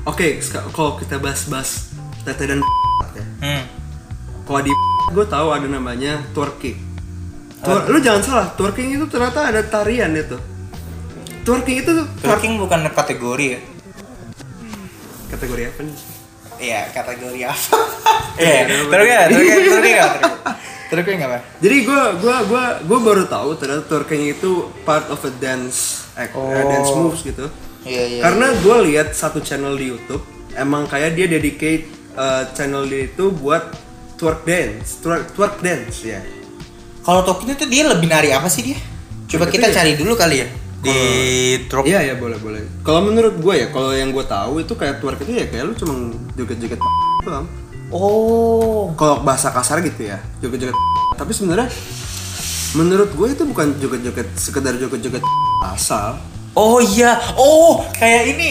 Oke, seka- kalau kita bahas-bahas tete dan [LAUGHS] ya. hmm. Kalau di [LAUGHS] gue tahu ada namanya twerking. Twer- lu jangan salah, twerking itu ternyata ada tarian itu. Twerking itu tuh- twer- Twerking bukan kategori ya? kategori apa nih? Iya, kategori apa? Iya, twerking apa? Twerking twerking apa? Twerking apa? Jadi gue gua gua gua baru tahu ternyata twerking itu part of a dance act, eh, dance moves gitu. Iya, iya. Karena gue lihat satu channel di YouTube emang kayak dia dedicate eh, channel dia itu buat twerk dance, twerk, twerk dance ya. Kalau twerking itu dia lebih nari apa sih dia? Coba kita cari dulu kali ya. Di twerk. Iya ya boleh boleh. Kalau menurut gue ya, kalau yang gue tahu itu kayak twerk itu ya kayak lu cuma joget-joget doang. Oh. Kalau bahasa kasar gitu ya, joget-joget. Tapi sebenarnya menurut gue itu bukan joget-joget sekedar joget-joget asal. Oh iya. Oh, kayak ini.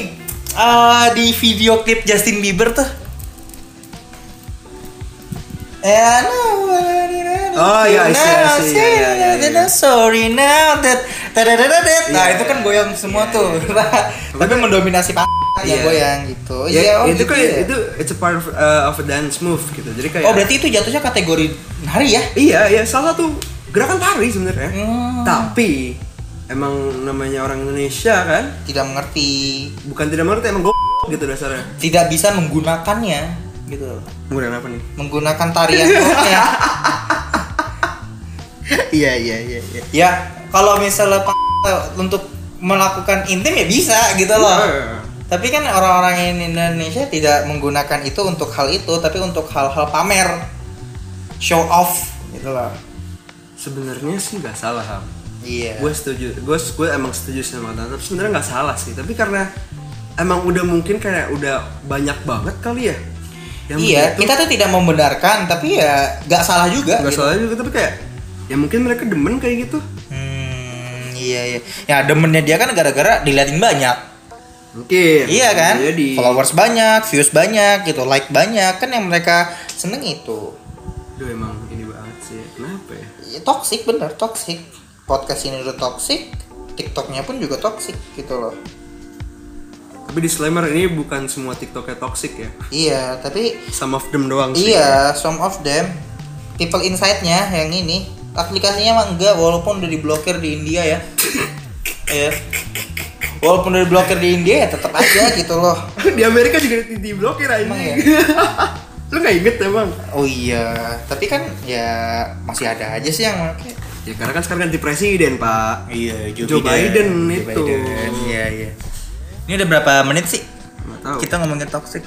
Ah, di video klip Justin Bieber tuh. And I wanna know Oh, iya, I see, I now, see. Iya, iya, iya, iya. that I'm Sorry now that tadadadadat. Nah, itu kan goyang semua tuh. [LAUGHS] Tapi mendominasi pak yang Iya. goyang gitu. Ya, oh itu gitu kayak ya. itu it's a part of, uh, of a dance move gitu. Jadi kayak Oh, berarti itu jatuhnya kategori nari ya? iya ya salah satu gerakan tari sebenarnya. Hmm. Tapi emang namanya orang Indonesia kan Tidak mengerti, bukan tidak mengerti emang gue gitu dasarnya. tidak bisa menggunakannya gitu. Kemudian apa nih? Menggunakan [LAUGHS] tarian rocknya. Iya iya iya. iya. ya, kalau misalnya pak untuk melakukan intim ya bisa gitu loh. Iya. Tapi kan orang-orang in- Indonesia tidak menggunakan itu untuk hal itu, tapi untuk hal-hal pamer, show off gitu loh. sebenarnya sih nggak salah ham Iya. gue setuju gue gue emang setuju sama Tante tapi sebenarnya nggak salah sih tapi karena emang udah mungkin kayak udah banyak banget kali ya Yang iya, begitu- kita tuh tidak membenarkan, tapi ya nggak salah juga. nggak gitu. salah juga tapi kayak ya mungkin mereka demen kayak gitu Hmm, iya iya. Ya demennya dia kan gara-gara diliatin banyak. mungkin Iya kan? jadi Followers banyak, views banyak gitu, like banyak kan yang mereka seneng itu. Duh, emang ini banget sih kenapa ya Ya, toxic bener, toxic. Podcast ini udah toxic, TikToknya pun juga toxic gitu loh. tapi disclaimer ini bukan semua tiktoknya toxic ya Iya, tapi some of them doang sih Iya, some of them people inside-nya yang ini aplikasinya emang enggak walaupun udah diblokir di India [LAUGHS] ya. Iya. Walaupun udah diblokir di India ya tetap aja gitu loh. [LAUGHS] di Amerika juga di, di blokir aja Emang ya? [LAUGHS] lu nggak inget emang Oh iya, tapi kan ya masih ada aja sih yang make. ya karena kan sekarang ganti presiden pak Iya, Joe Biden itu. Iya, iya. Ini udah berapa menit sih? nggak tahu Kita ngomongin toxic.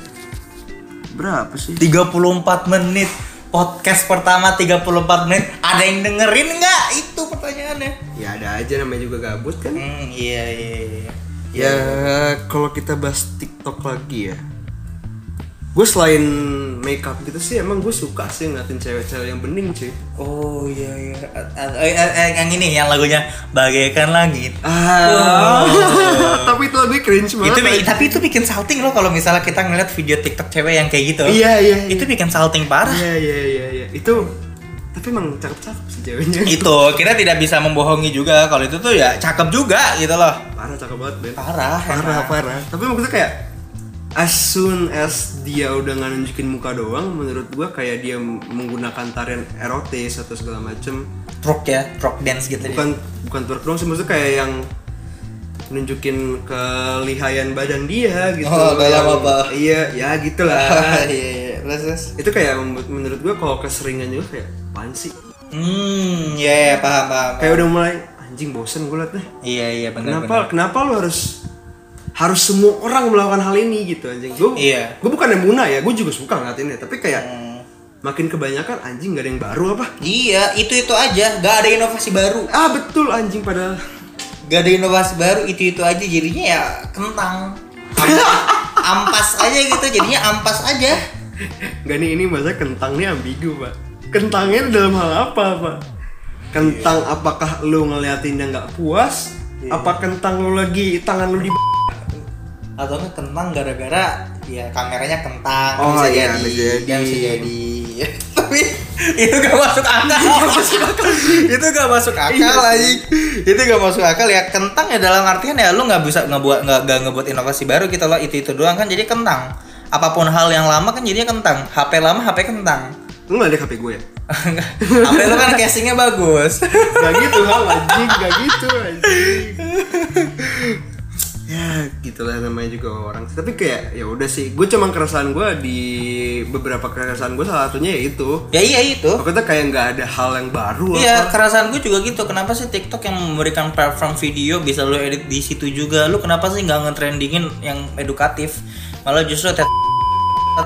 berapa sih 34 menit. Podcast pertama 34 menit. Ada yang dengerin nggak? Itu pertanyaannya. ya ada aja namanya juga gabut kan Hmm, iya, iya, iya. ya kalau kita bahas tiktok lagi ya gue selain makeup gitu sih emang gue suka sih ngeliatin cewek-cewek yang bening cuy Oh iya iya. A- a- eh, eh, eh, yang ini yang lagunya bagaikan langit. ah [LAUGHS] tapi itu lagunya cringe banget Itu bi- Pak. tapi itu bikin salting loh kalau misalnya kita ngeliat video TikTok cewek yang kayak gitu. iya iya iya. Itu bikin salting parah. Iya iya iya iya. Itu tapi emang cakep-cakep sih ceweknya. itu kita Gitu. tidak bisa membohongi juga kalau itu tuh ya cakep juga gitu loh. Parah cakep banget Ben. Parah. Parah emang. parah. Tapi maksudnya kayak as soon as dia udah nggak nunjukin muka doang, menurut gua kayak dia m- menggunakan tarian erotis atau segala macem. Rock ya, rock dance gitu. Bukan bukan twerk doang sih maksudnya kayak yang nunjukin kelihayan badan dia gitu. Oh, dalam Yang- apa? Iya, ya Ah, gitulah. [LAUGHS] iya iya. Terus, terus. itu kayak menurut- menurut gua kalau keseringan juga kayak apaan sih? Hmm, iya iya, paham paham. paham. Kayak udah mulai anjing bosen gua liat deh. Iya iya benar kenapa kenapa lu harus harus semua orang melakukan hal ini gitu anjing gue Iya. gue bukan yang muna ya gue juga suka ngeliatinnya tapi kayak benar. makin kebanyakan anjing gak ada yang baru apa Iya, itu itu aja, gak ada inovasi baru. ah betul anjing padahal gak ada inovasi baru itu itu aja jadinya ya [LAUGHS] kentang Ampas- ampas aja gitu jadinya ampas aja gak nih ini masa kentangnya ambigu pak kentangnya dalam hal apa pak kentang apakah lu ngeliatin yang nggak puas apa kentang lu lagi tangan lu di atau nggak kentang gara-gara ya kameranya kentang Oh, bisa, iya, jadi, bisa jadi. ya, bisa jadi [LAUGHS] tapi itu gak masuk akal itu gak masuk akal anjing itu gak masuk akal ya kentang ya dalam artian ya lu nggak bisa ngebuat nggak nggak ngebuat inovasi baru gitu loh itu itu doang kan jadi kentang apapun hal yang lama kan jadinya kentang HP lama HP kentang [LAUGHS] lu nggak ada hp gue ya HP lu kan casingnya bagus [LAUGHS] gak gitu hal anjing gak gitu anjing ya gitulah namanya juga orang tapi kayak ya udah sih gue cuma keresahan gue di beberapa keresahan gue salah satunya ya itu ya iya itu pokoknya kayak nggak ada hal yang baru Iya, apa kerasaan gue juga gitu. Kenapa sih TikTok yang memberikan platform video bisa lo edit di situ juga? Lu kenapa sih nggak ngetrendingin yang edukatif? Malah justru tet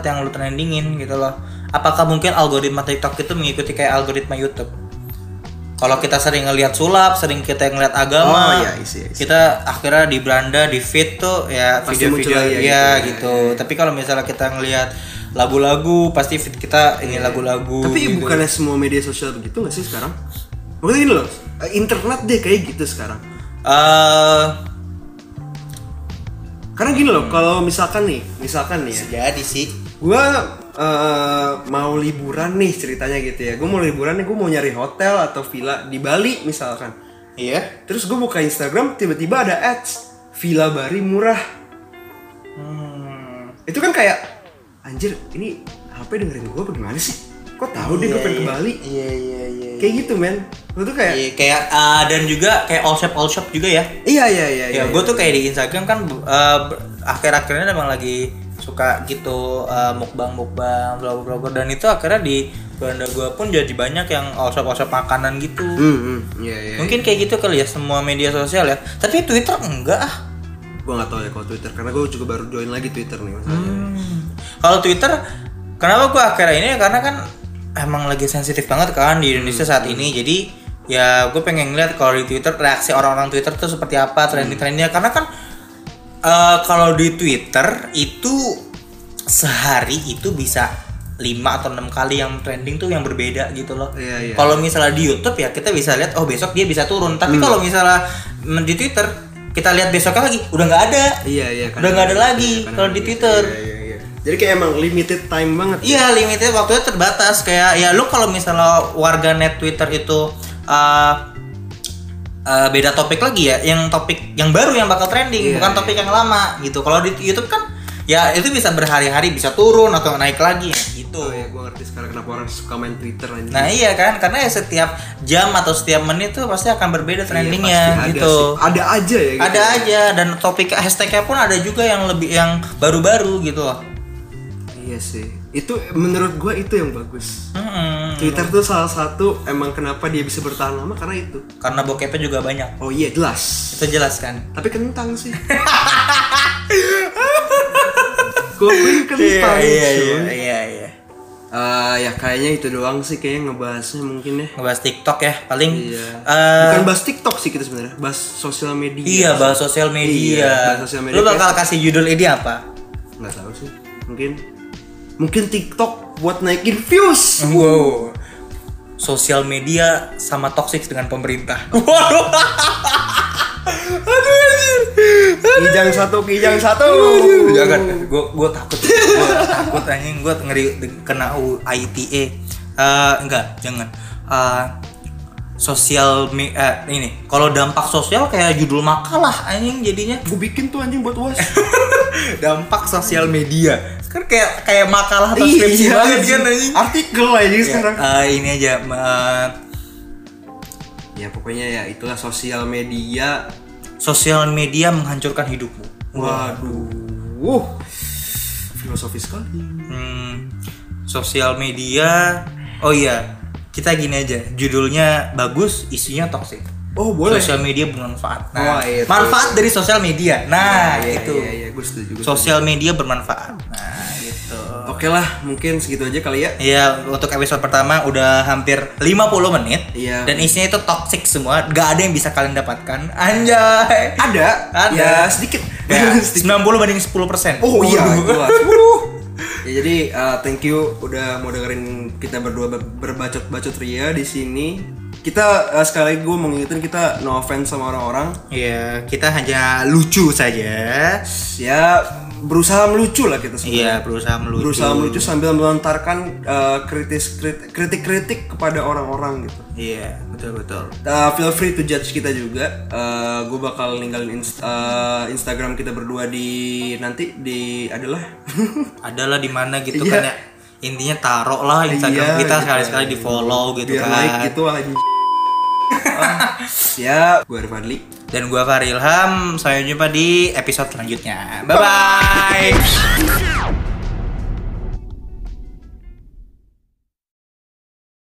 yang lu trendingin gitu loh. Apakah mungkin algoritma TikTok itu mengikuti kayak algoritma YouTube? Kalau kita sering ngelihat sulap, sering kita ngelihat agama, Oh, iya, isi, isi. kita akhirnya di beranda di feed tuh ya Pasti muncul video-video ya, aja gitu. gitu. Tapi kalau misalnya kita ngelihat lagu-lagu, pasti feed kita ini lagu-lagu. Iya. tapi gitu. bukannya semua media sosial begitu nggak sih sekarang maksudnya gini loh eh, internet deh kayak gitu sekarang Eh, karena gini loh kalau misalkan nih misalkan nih ya, bisa jadi sih. gue mau liburan nih ceritanya gitu ya gue mau liburan nih gue mau nyari hotel atau villa di Bali misalkan Iya. terus gue buka Instagram tiba-tiba ada ads villa Bali murah Hmm. itu kan kayak anjir ini HP dengerin gue apa gimana sih kok tahu deh gue pengen ke Bali Iya iya iya. iya. kayak gitu men gue tuh kayak Iya, kayak ah, dan juga kayak all shop all shop juga ya. iya iya iya iya Ya, gue tuh kayak di Instagram kan eh, ber- akhir-akhirnya emang lagi suka gitu eh, mukbang mukbang blogger blogger dan itu akhirnya di beranda gue pun jadi banyak yang all shop all shop makanan gitu. Hmm, hmm, iya iya Mungkin kayak gitu kali ya semua media sosial ya. Tapi Twitter enggak ah. gue nggak tahu ya kalau Twitter karena gue juga baru join lagi Twitter nih masalahnya Hmm. Kalau Twitter, kenapa gue akhirnya ini karena kan emang lagi sensitif banget kan di Indonesia saat ini. Jadi ya gue pengen ngeliat kalau di Twitter reaksi orang-orang Twitter tuh seperti apa trending-trendingnya. Karena kan eh, kalau di Twitter itu sehari itu bisa 5 atau enam kali yang trending tuh yang berbeda gitu loh. Iya, iya. Kalau misalnya di YouTube ya kita bisa lihat oh besok dia bisa turun. Tapi Hmm. kalau misalnya mm, di Twitter kita lihat besoknya lagi udah nggak ada. Iya iya. Udah nggak ada lagi kadang kalau di gitu. Twitter. Iya, iya, iya. Jadi kayak emang limited time banget. Iya, limitnya waktunya terbatas. Kayak ya lu kalau misalnya warganet Twitter itu eh, eh, beda topik lagi ya, yang topik yang baru yang bakal Iya, trending, bukan topik yang lama gitu. Kalau di YouTube kan ya itu bisa berhari-hari bisa turun atau naik lagi gitu. Oh ya, gue ngerti sekarang kenapa orang suka main Twitter anjing. Nah iya kan, karena ya setiap jam atau setiap menit tuh pasti akan berbeda Iya, trendingnya pasti ada gitu. sih. Ada aja ya. gitu. Ada aja dan topik hashtagnya pun ada juga yang lebih yang baru-baru gitu loh. Iya sih. Itu menurut gue itu yang bagus. Mm-mm. Twitter tuh salah satu emang kenapa dia bisa bertahan lama karena itu. Karena bokepnya juga banyak. Oh iya jelas. Itu jelas kan. Tapi kentang [LAUGHS] sih. gue pengen kentang. cuy. iya iya. Eh, ya kayaknya itu doang sih kayaknya ngebahasnya mungkin ya. Ngebahas TikTok ya paling. Iya. eh, Bukan bahas TikTok sih kita sebenarnya, bahas sosial media. iya bahas sosial media. Iya, bahas sosial media. Lu bakal kasih judul ini [LAUGHS] apa? Nggak tahu sih. Mungkin mungkin TikTok buat naikin views. Wow. Sosial media sama toxic dengan pemerintah. [LAUGHS] Waduh. Aduh anjir. kijang satu, kijang satu. Aduh, jangan gue gue takut gue takut anjing gue ngeri kena U- ITA Eh, enggak jangan Eh, sosial me- eh, ini kalau dampak sosial kayak judul makalah anjing jadinya Gue bikin tuh anjing buat [LAUGHS] uas. dampak sosial media kan kayak kayak makalah atau Iya, skripsi banget kan anjing Artikel aja sekarang. Eh, ini aja eh, Ya pokoknya ya itulah sosial media. sosial media menghancurkan hidupmu Waduh. Wuh. Filosofis sekali. Hmm, sosial media. Oh iya, kita gini aja. Judulnya bagus, isinya toksik. Oh boleh. Sosial media bermanfaat. Oh, Nah, iya, manfaat dari sosial media. Nah, Iya, itu. Iya, iya, gue setuju. gua Sosial media bermanfaat. Nah, gitu. setuju. Oke lah, mungkin segitu aja kali ya. Iya, untuk episode pertama udah hampir 50 menit. Iya. Dan isinya itu toksik semua. Gak ada yang bisa kalian dapatkan. [LAUGHS] Anjay. Ada, Ada. Ya, sedikit. [LAUGHS] Ya, Sedikit. 90 banding 10%. Oh [LAUGHS] iya, Waduh. jelas. Ya, jadi uh, thank you udah mau dengerin kita berdua ber- berbacot-bacot ria di sini. Kita uh, sekali lagi gue mau ngingetin kita no offense sama orang-orang. Iya, kita hanya lucu saja. Ya berusaha melucu lah kita semua. Iya, berusaha melucu. Berusaha melucu sambil melontarkan uh, kritis krit- kritik-kritik kepada orang-orang gitu. Iya, betul betul. Uh, feel free to judge kita juga. Uh, gue bakal ninggalin inst- uh, Instagram kita berdua di nanti di adalah Adalah di mana gitu Iya. kan ya. Intinya taruh lah Iya, Instagram kita gitu. sekali-sekali di follow [LAUGHS] gitu biar kan. naik gitu [LAUGHS] anjing Oh, ya gue Fadli Dan gua Farilham, sampai jumpa di episode selanjutnya. Bye bye.